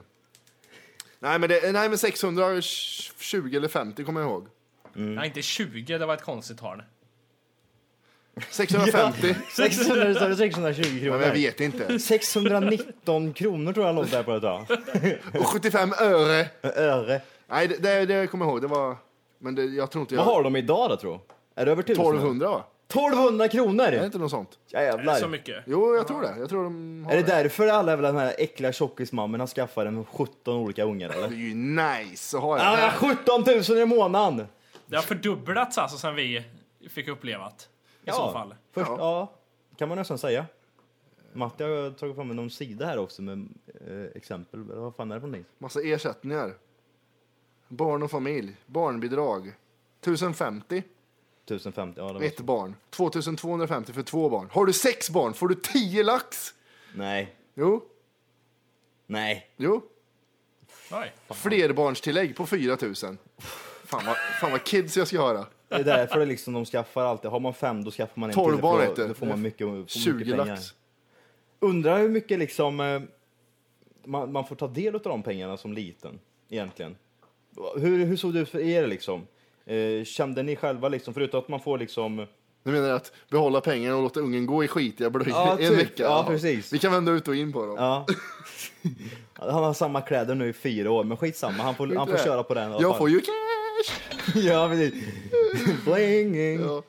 [SPEAKER 2] Nej men, det, nej, men 620 eller 50 kommer jag ihåg.
[SPEAKER 3] Nej, inte 20, det var ett konstigt tal.
[SPEAKER 2] 650?
[SPEAKER 6] 600, sa du 620
[SPEAKER 2] ja,
[SPEAKER 6] kronor?
[SPEAKER 2] men jag vet inte.
[SPEAKER 6] 619 kronor tror jag låg där på ett tag.
[SPEAKER 2] Och 75 öre!
[SPEAKER 6] Öre.
[SPEAKER 2] Nej, det, det, det kommer jag ihåg. Det var... Men det, jag tror inte jag...
[SPEAKER 6] Vad har de idag då tro? Är det över 1000?
[SPEAKER 2] 1200 va?
[SPEAKER 6] 1200
[SPEAKER 2] Är det
[SPEAKER 6] kronor!
[SPEAKER 2] inte något sånt?
[SPEAKER 6] Jävlar.
[SPEAKER 3] Så mycket.
[SPEAKER 2] Jo, jag tror det. Jag tror de har
[SPEAKER 6] Är det
[SPEAKER 2] det.
[SPEAKER 6] därför alla jävla de här äckliga tjockismammorna skaffar en 17 olika ungar
[SPEAKER 2] Det (laughs)
[SPEAKER 6] eller?
[SPEAKER 2] är ju nice att ha det.
[SPEAKER 6] Ah, 17 000 i månaden!
[SPEAKER 3] Det har fördubblats alltså sen vi fick uppleva det. I så fall.
[SPEAKER 6] Först,
[SPEAKER 2] Ja.
[SPEAKER 6] ja. kan man nästan säga. Matti har tagit fram någon sida här också med eh, exempel. Eller Vad fan är det för någonting?
[SPEAKER 2] Massa ersättningar. Barn och familj. Barnbidrag. 1050
[SPEAKER 6] 1050? Ja, det var...
[SPEAKER 2] för ett barn. 2250 för två barn. Har du sex barn får du 10 lax!
[SPEAKER 6] Nej,
[SPEAKER 2] Jo,
[SPEAKER 6] nej.
[SPEAKER 2] jo.
[SPEAKER 3] Oj.
[SPEAKER 2] Flerbarnstillägg på 4000. Fan vad, fan vad kids jag ska höra.
[SPEAKER 6] Det är därför det liksom de skaffar alltid. Har man fem då skaffar man en
[SPEAKER 2] 12
[SPEAKER 6] till.
[SPEAKER 2] barn
[SPEAKER 6] Då,
[SPEAKER 2] heter det.
[SPEAKER 6] då får man mycket, får mycket
[SPEAKER 2] 20
[SPEAKER 6] pengar.
[SPEAKER 2] lax.
[SPEAKER 6] Undrar hur mycket liksom eh, man, man får ta del av de pengarna som liten egentligen. Hur, hur såg det ut för er liksom? Eh, kände ni själva liksom, förutom att man får liksom...
[SPEAKER 2] Du menar att behålla pengarna och låta ungen gå i skitiga blöjor
[SPEAKER 6] Ja,
[SPEAKER 2] en
[SPEAKER 6] typ.
[SPEAKER 2] vecka?
[SPEAKER 6] Ja, precis.
[SPEAKER 2] Vi kan vända ut och in på dem. (laughs)
[SPEAKER 6] Ja. Han har samma kläder nu i fyra år, men skitsamma, han får, han får köra på den i alla
[SPEAKER 2] Jag
[SPEAKER 6] fall.
[SPEAKER 2] får ju cash!
[SPEAKER 6] (laughs) ja,
[SPEAKER 2] (laughs)
[SPEAKER 6] precis. Blinging.
[SPEAKER 2] Ja.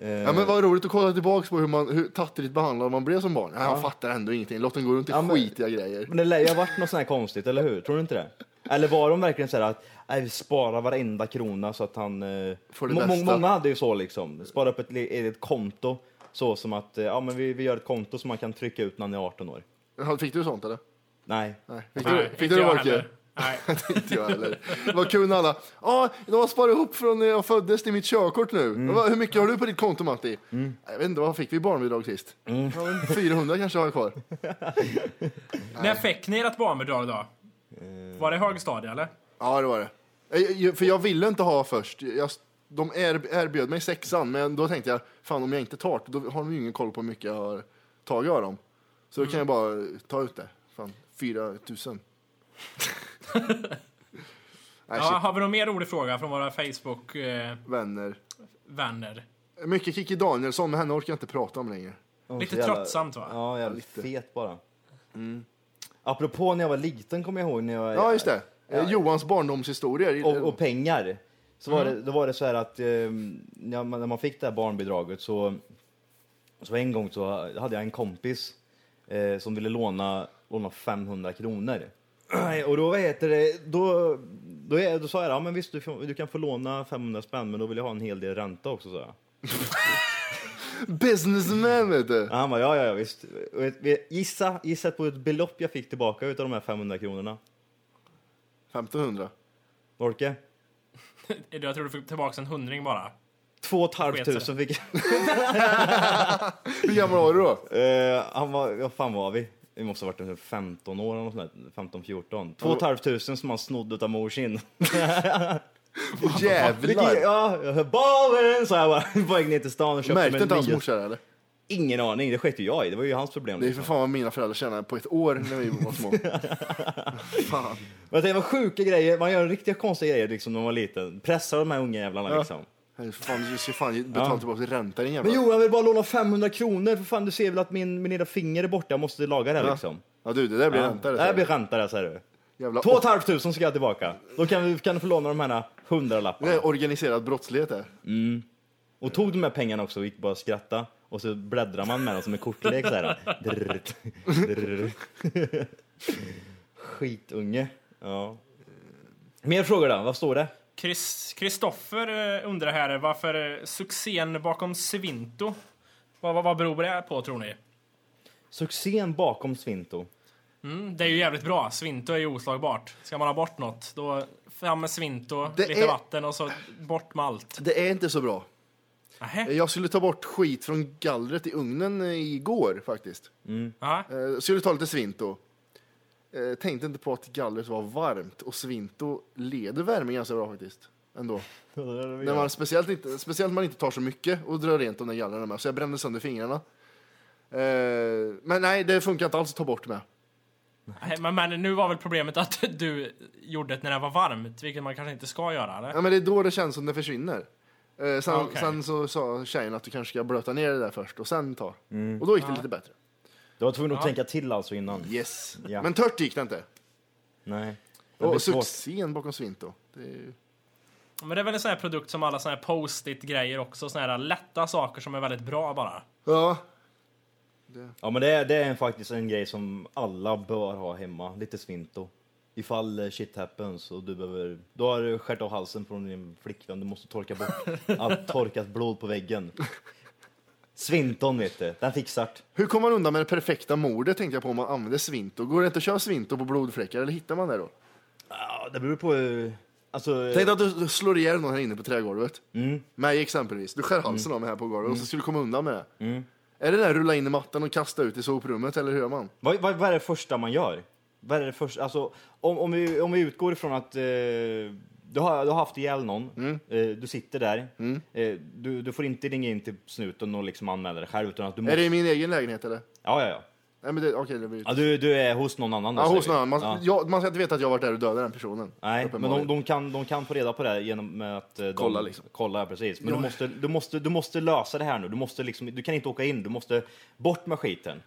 [SPEAKER 6] Eh.
[SPEAKER 2] Ja, men vad roligt att kolla tillbaka på hur, man, hur tattrigt behandlad man blev som barn. Nej, jag fattar ändå ingenting. Låt den gå runt i
[SPEAKER 6] Ja, men-
[SPEAKER 2] skitiga grejer.
[SPEAKER 6] Men det lär ju ha varit något sånt här konstigt, eller hur? Tror du inte det? Eller var de verkligen så här att nej, vi sparar varenda krona så att han... eh,
[SPEAKER 2] Får det
[SPEAKER 6] må- må-
[SPEAKER 2] bästa.
[SPEAKER 6] många hade ju så liksom, spara upp ett li- ett konto. Så som att, eh, ja men vi, vi gör ett konto som man kan trycka ut när han är 18 år.
[SPEAKER 2] Ja, Fick du sånt eller?
[SPEAKER 6] Nej.
[SPEAKER 2] Nej. Fick
[SPEAKER 3] Nej,
[SPEAKER 2] du,
[SPEAKER 3] inte
[SPEAKER 2] fick du det
[SPEAKER 3] jag
[SPEAKER 2] Wolke?
[SPEAKER 3] heller.
[SPEAKER 2] (laughs)
[SPEAKER 3] Nej.
[SPEAKER 2] Inte jag heller. Vad kul när alla. Ja, de har sparat ihop från när jag föddes till mitt körkort nu. Vad- Hur mycket har du på ditt konto Matti? Jag vet inte, vad fick vi i barnbidrag sist? Ja, men 400 kanske har jag kvar.
[SPEAKER 3] När fick ni ert barnbidrag då?
[SPEAKER 2] Eh.
[SPEAKER 3] Var det högstadie eller?
[SPEAKER 2] Ja, det var det. Jag- jag- Eh, För jag ville inte ha först. Jag, de erb- erbjöd mig sexan, men då tänkte jag, fan om jag inte tar det, då har de ju ingen koll på hur mycket jag har tagit av dem. Så då kan jag bara eh, ta ut det. Fan, (laughs) 4000. Nej,
[SPEAKER 3] Ja,
[SPEAKER 2] shit,
[SPEAKER 3] har vi någon mer rolig fråga från våra eh, Facebook-vänner?
[SPEAKER 2] vänner. Mycket Kikki Danielsson, men henne orkar jag inte prata om längre.
[SPEAKER 6] Oh,
[SPEAKER 3] Lite
[SPEAKER 6] så jävla-
[SPEAKER 3] tröttsamt, va?
[SPEAKER 6] Ja, jävligt
[SPEAKER 2] Lite. Mm.
[SPEAKER 6] fet bara. Apropå när jag var liten kommer jag ihåg när jag...
[SPEAKER 2] Ja, just det. Eh, Johans barndomshistorier.
[SPEAKER 6] och, och pengar. Så var det, då var det så här att eh, när, man, när man fick det här barnbidraget så, så en gång så hade jag en kompis eh, som ville låna, låna 500 kronor. Och då, vad heter det, då, då, är- då sa jag ja men visst du, får- du kan få låna 500 spänn men då vill jag ha en hel del ränta också sa jag.
[SPEAKER 2] Businessman, vet du.
[SPEAKER 6] Ja, han bara ja ja, ja visst. Och ett- vi- Gissa, gissa på ett belopp jag fick tillbaka utav de här 500 kronorna.
[SPEAKER 2] 1500.
[SPEAKER 6] Orke?
[SPEAKER 3] (laughs) Jag tror du fick tillbaka en hundring bara.
[SPEAKER 6] Två och ett halvt
[SPEAKER 3] Sket sig.
[SPEAKER 6] tusen fick jag.
[SPEAKER 2] Hur gammal var du då? (laughs)
[SPEAKER 6] Eh, han var, vad fan var vi? Vi måste ha varit ungefär 15 år eller något sånt där, 15, 14. Två och ett halvt tusen som han snodde utav morsin.
[SPEAKER 2] Jävlar.
[SPEAKER 6] (laughs) Ja, jag hör, Bollen! Så jag bara, (laughs) på väg ner till stan och köpte mig
[SPEAKER 2] Märkte
[SPEAKER 6] en
[SPEAKER 2] inte hans
[SPEAKER 6] nio.
[SPEAKER 2] morsa det, eller?
[SPEAKER 6] Ingen aning, det sket ju jag i. Det var ju hans problem.
[SPEAKER 2] Det är för
[SPEAKER 6] liksom.
[SPEAKER 2] fan vad mina föräldrar tjänade på ett år när vi var (laughs) små. fan.
[SPEAKER 6] Men det var sjuka grejer, man gör riktiga konstiga grejer liksom när man var liten. Pressar de här unga jävlarna liksom.
[SPEAKER 2] Här, för fan, du ska fan betala
[SPEAKER 6] Ja.
[SPEAKER 2] tillbaka ränta din jävla...
[SPEAKER 6] Men Johan vill bara låna 500 kronor, för fan du ser väl att min, min lilla finger är borta, jag måste laga det här liksom.
[SPEAKER 2] Ja du, det där blir
[SPEAKER 6] Ja.
[SPEAKER 2] ränta det.
[SPEAKER 6] Det här blir
[SPEAKER 2] säger
[SPEAKER 6] ränta det, säger du.
[SPEAKER 2] jag. Jävla
[SPEAKER 6] Två och ett halvt tusen ska jag tillbaka. Då kan, vi, kan du få låna de här
[SPEAKER 2] det
[SPEAKER 6] hundralapparna.
[SPEAKER 2] är organiserad brottslighet där.
[SPEAKER 6] Och tog de här pengarna också och gick bara och skratta. Och så bläddrar man med dem som en kortlek så här. Drrrt, drrrt. Skitunge. Ja. Mer frågor då, vad står det?
[SPEAKER 3] Chris- Kristoffer eh, undrar här varför eh, succén bakom Svinto, vad, vad, vad beror det på tror ni?
[SPEAKER 6] Succén bakom Svinto.
[SPEAKER 3] Mm, det är ju jävligt bra. Svinto är ju oslagbart. Ska man ha bort något, då fram med Svinto,
[SPEAKER 2] Det
[SPEAKER 3] lite
[SPEAKER 2] är-
[SPEAKER 3] vatten och så bort med allt.
[SPEAKER 2] Det är inte så bra.
[SPEAKER 3] Nähä?
[SPEAKER 2] Jag skulle ta bort skit från gallret i ugnen eh, igår faktiskt.
[SPEAKER 3] Aha.
[SPEAKER 2] Eh, skulle ta lite svinto. Eh, tänkte inte på att gallret var varmt och svinto leder värme ganska bra faktiskt. Ändå. När man, speciellt, inte, speciellt när man inte tar så mycket och drar rent om den gallren med. Så jag brände sönder fingrarna. Eh, men nej, det funkar inte alls att ta bort med.
[SPEAKER 3] Nej, Men, men nu var väl problemet att (laughs) du gjorde det när det var varmt, vilket man kanske inte ska göra? Eller?
[SPEAKER 2] Ja, men det är då det känns som det försvinner. Eh, sen,
[SPEAKER 3] Okej.
[SPEAKER 2] sen så sa tjejen att du kanske ska blöta ner det där först och sen ta. Och då gick det lite bättre.
[SPEAKER 6] Du var tvungen att tänka till alltså innan?
[SPEAKER 2] Yes.
[SPEAKER 6] Ja.
[SPEAKER 2] Men tört gick det inte.
[SPEAKER 6] Nej. Det blir
[SPEAKER 2] Och
[SPEAKER 6] svårt.
[SPEAKER 2] succén bakom svinto. Det är ju...
[SPEAKER 3] Men det är väl en sån här produkt som alla såna här post-it-grejer också, såna här lätta saker som är väldigt bra bara.
[SPEAKER 2] Ja,
[SPEAKER 6] Ja men det är, det är faktiskt en grej som alla bör ha hemma, lite Svinto. Ifall eh, shit happens och du behöver, då har du skärt av halsen från din flickvän, du måste torka (laughs) bort allt torkat blod på väggen. Svinton vet du, den fixar det.
[SPEAKER 2] Hur kommer man undan med det perfekta mordet tänkte jag på om man använder svinto? Går det inte att köra svinto på blodfläckar eller hittar man det
[SPEAKER 6] Eh.
[SPEAKER 2] då?
[SPEAKER 6] Ja, det beror på, eh, alltså...
[SPEAKER 2] Tänk dig att du slår ihjäl någon här inne på trägolvet.
[SPEAKER 6] Mm.
[SPEAKER 2] Mig exempelvis. Du skär halsen av mig här på golvet och så skulle du komma undan med det.
[SPEAKER 6] Mm.
[SPEAKER 2] Är det där rulla in i mattan och kasta ut i soprummet eller hur gör man?
[SPEAKER 6] Vad, vad, vad är det första man gör? Vad är det första, alltså, om, om, vi, om vi utgår ifrån att eh, du, har, du har haft ihjäl någon, eh, du sitter där, eh, du, du får inte ringa in till snuten och liksom anmäla dig själv utan att du måste...
[SPEAKER 2] Är det i min egen lägenhet eller?
[SPEAKER 6] Ja, ja, ja.
[SPEAKER 2] Nej men det, okej det blir...
[SPEAKER 6] ja du, du är hos någon annan. då,
[SPEAKER 2] Ja,
[SPEAKER 6] säger
[SPEAKER 2] hos
[SPEAKER 6] vi.
[SPEAKER 2] någon annan. Man,
[SPEAKER 6] Ja.
[SPEAKER 2] ja, man ska inte veta att jag varit där och dödat den personen.
[SPEAKER 6] Nej, men de,
[SPEAKER 2] Uppenbarligen.
[SPEAKER 6] de, kan, de kan få reda på det här genom med att eh, de,
[SPEAKER 2] Kolla, liksom.
[SPEAKER 6] kolla ja, precis. Men du, måste, du, måste, du måste lösa det här nu. Du, måste liksom, du kan inte åka in, du måste bort med skiten.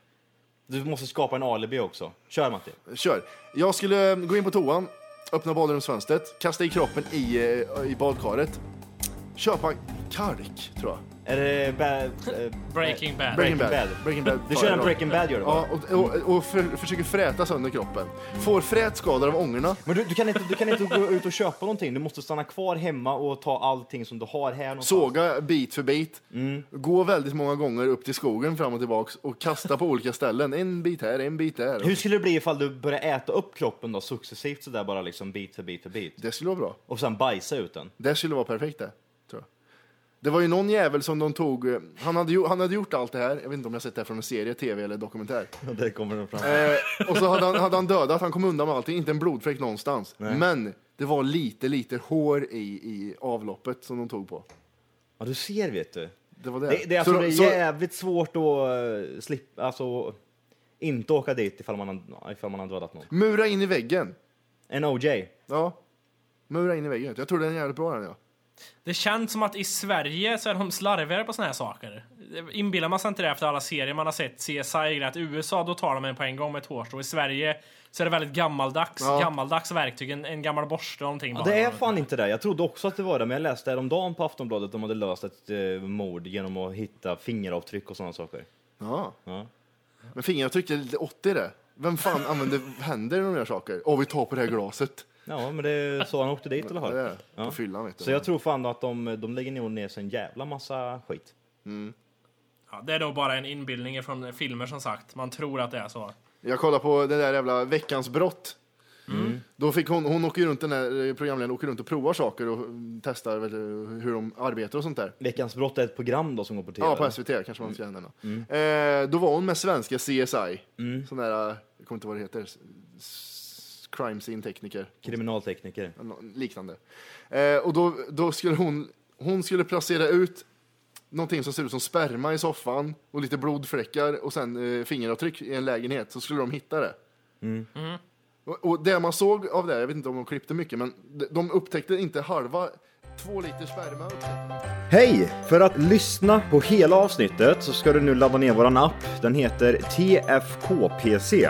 [SPEAKER 6] Du måste skapa en alibi också. Kör Matti.
[SPEAKER 2] Kör. Jag skulle eh, gå in på toan, öppna badrumsfönstret, kasta i kroppen i, eh, i badkaret, köpa kalk tror jag.
[SPEAKER 6] Är det ba- eh,
[SPEAKER 3] Breaking Bad.
[SPEAKER 2] Breaking Bad.
[SPEAKER 6] Breaking
[SPEAKER 2] Breaking
[SPEAKER 6] Bad.
[SPEAKER 2] Bad.
[SPEAKER 6] Du kör en
[SPEAKER 2] Fan,
[SPEAKER 6] Breaking Bad gör du bara.
[SPEAKER 2] Ja, och, och, och för, försöker fräta sönder kroppen. Får frätskador av ångorna.
[SPEAKER 6] Men du, du, kan inte, du kan inte gå ut och köpa någonting. Du måste stanna kvar hemma och ta allting som du har här någonstans.
[SPEAKER 2] Såga bit för bit. Gå väldigt många gånger upp till skogen fram och tillbaks och kasta på olika ställen. En bit här, en bit där.
[SPEAKER 6] Hur skulle det bli ifall du börjar äta upp kroppen då successivt sådär bara liksom bit för bit för bit?
[SPEAKER 2] Det skulle vara bra.
[SPEAKER 6] Och sen bajsa
[SPEAKER 2] (laughs)
[SPEAKER 6] ut den?
[SPEAKER 2] Det skulle vara perfekt det, tror jag. Det var ju någon jävel som de tog, eh, han hade, ju- han hade gjort allt det här, jag vet inte om jag sett det här från en serie, tv eller dokumentär.
[SPEAKER 6] Det kommer den fram.
[SPEAKER 2] Eh, och så hade han, hade han dödat, han kom undan med allting, inte en blodfläck någonstans. Men det var lite, lite hår i, i avloppet som de tog på.
[SPEAKER 6] Ja, du ser vet du.
[SPEAKER 2] Det var det.
[SPEAKER 6] Det, det, är
[SPEAKER 2] Så
[SPEAKER 6] alltså,
[SPEAKER 2] de-
[SPEAKER 6] det
[SPEAKER 2] så-
[SPEAKER 6] är jävligt svårt att eh, slippa, alltså inte åka dit ifall man, har- ifall man har dödat någon.
[SPEAKER 2] Mura in i väggen.
[SPEAKER 6] En OJ.
[SPEAKER 2] Ja. Mura in i väggen. Jag tror den är jävligt bra den ja.
[SPEAKER 3] Det känns som att i Sverige så är de slarvigare på såna här saker. Inbillar man sig inte det efter alla serier man har sett, CSI, att i USA då tar de en på en gång med ett hårstrå. I Sverige så är det väldigt gammaldags,
[SPEAKER 2] Ja.
[SPEAKER 3] gammaldags verktyg, en, en gammal borste och någonting
[SPEAKER 6] Ja,
[SPEAKER 3] bara.
[SPEAKER 6] det är fan inte det. Jag trodde också att det var det, men jag läste häromdagen på Aftonbladet att de hade löst ett eh, mord genom att hitta fingeravtryck och sådana saker.
[SPEAKER 2] ja.
[SPEAKER 6] Ja.
[SPEAKER 2] Men fingeravtryck är lite 80 det. Vem fan använder händer i de där saker? Åh, vi tar på det här glaset.
[SPEAKER 6] Ja, men det är så han åkte dit eller
[SPEAKER 2] Det
[SPEAKER 6] hur?
[SPEAKER 2] är På fyllan vet du.
[SPEAKER 6] Så jag tror fan att de, de lägger nog ner sig en jävla massa skit.
[SPEAKER 3] Ja, det är nog bara en inbildning från filmer som sagt. Man tror att det är så.
[SPEAKER 2] Jag kollar på den där jävla Veckans brott. Då fick hon, hon åker ju runt den där eh, programledaren åker runt och provar saker och mm, testar vet du, hur de arbetar och sånt där.
[SPEAKER 6] Veckans brott är ett program då som går på tv.
[SPEAKER 2] Ja, på SVT kanske man ska mm. eh, Då var hon med svenska CSI. Sån där, eh, jag kommer inte ihåg vad det heter, S- s- crime scene tekniker.
[SPEAKER 6] Kriminaltekniker.
[SPEAKER 2] Nå- liknande. Eh, och då, då skulle hon, hon skulle placera ut någonting som ser ut som sperma i soffan och lite blodfläckar och sen eh, fingeravtryck i en lägenhet så skulle de hitta det. Mm. Och, och det man såg av det, här, jag vet inte om de klippte mycket, men de, de upptäckte inte halva två liter sperma. upptäckte de.
[SPEAKER 6] Hej! För att lyssna på hela avsnittet så ska du nu ladda ner våran app. Den heter TFKPC.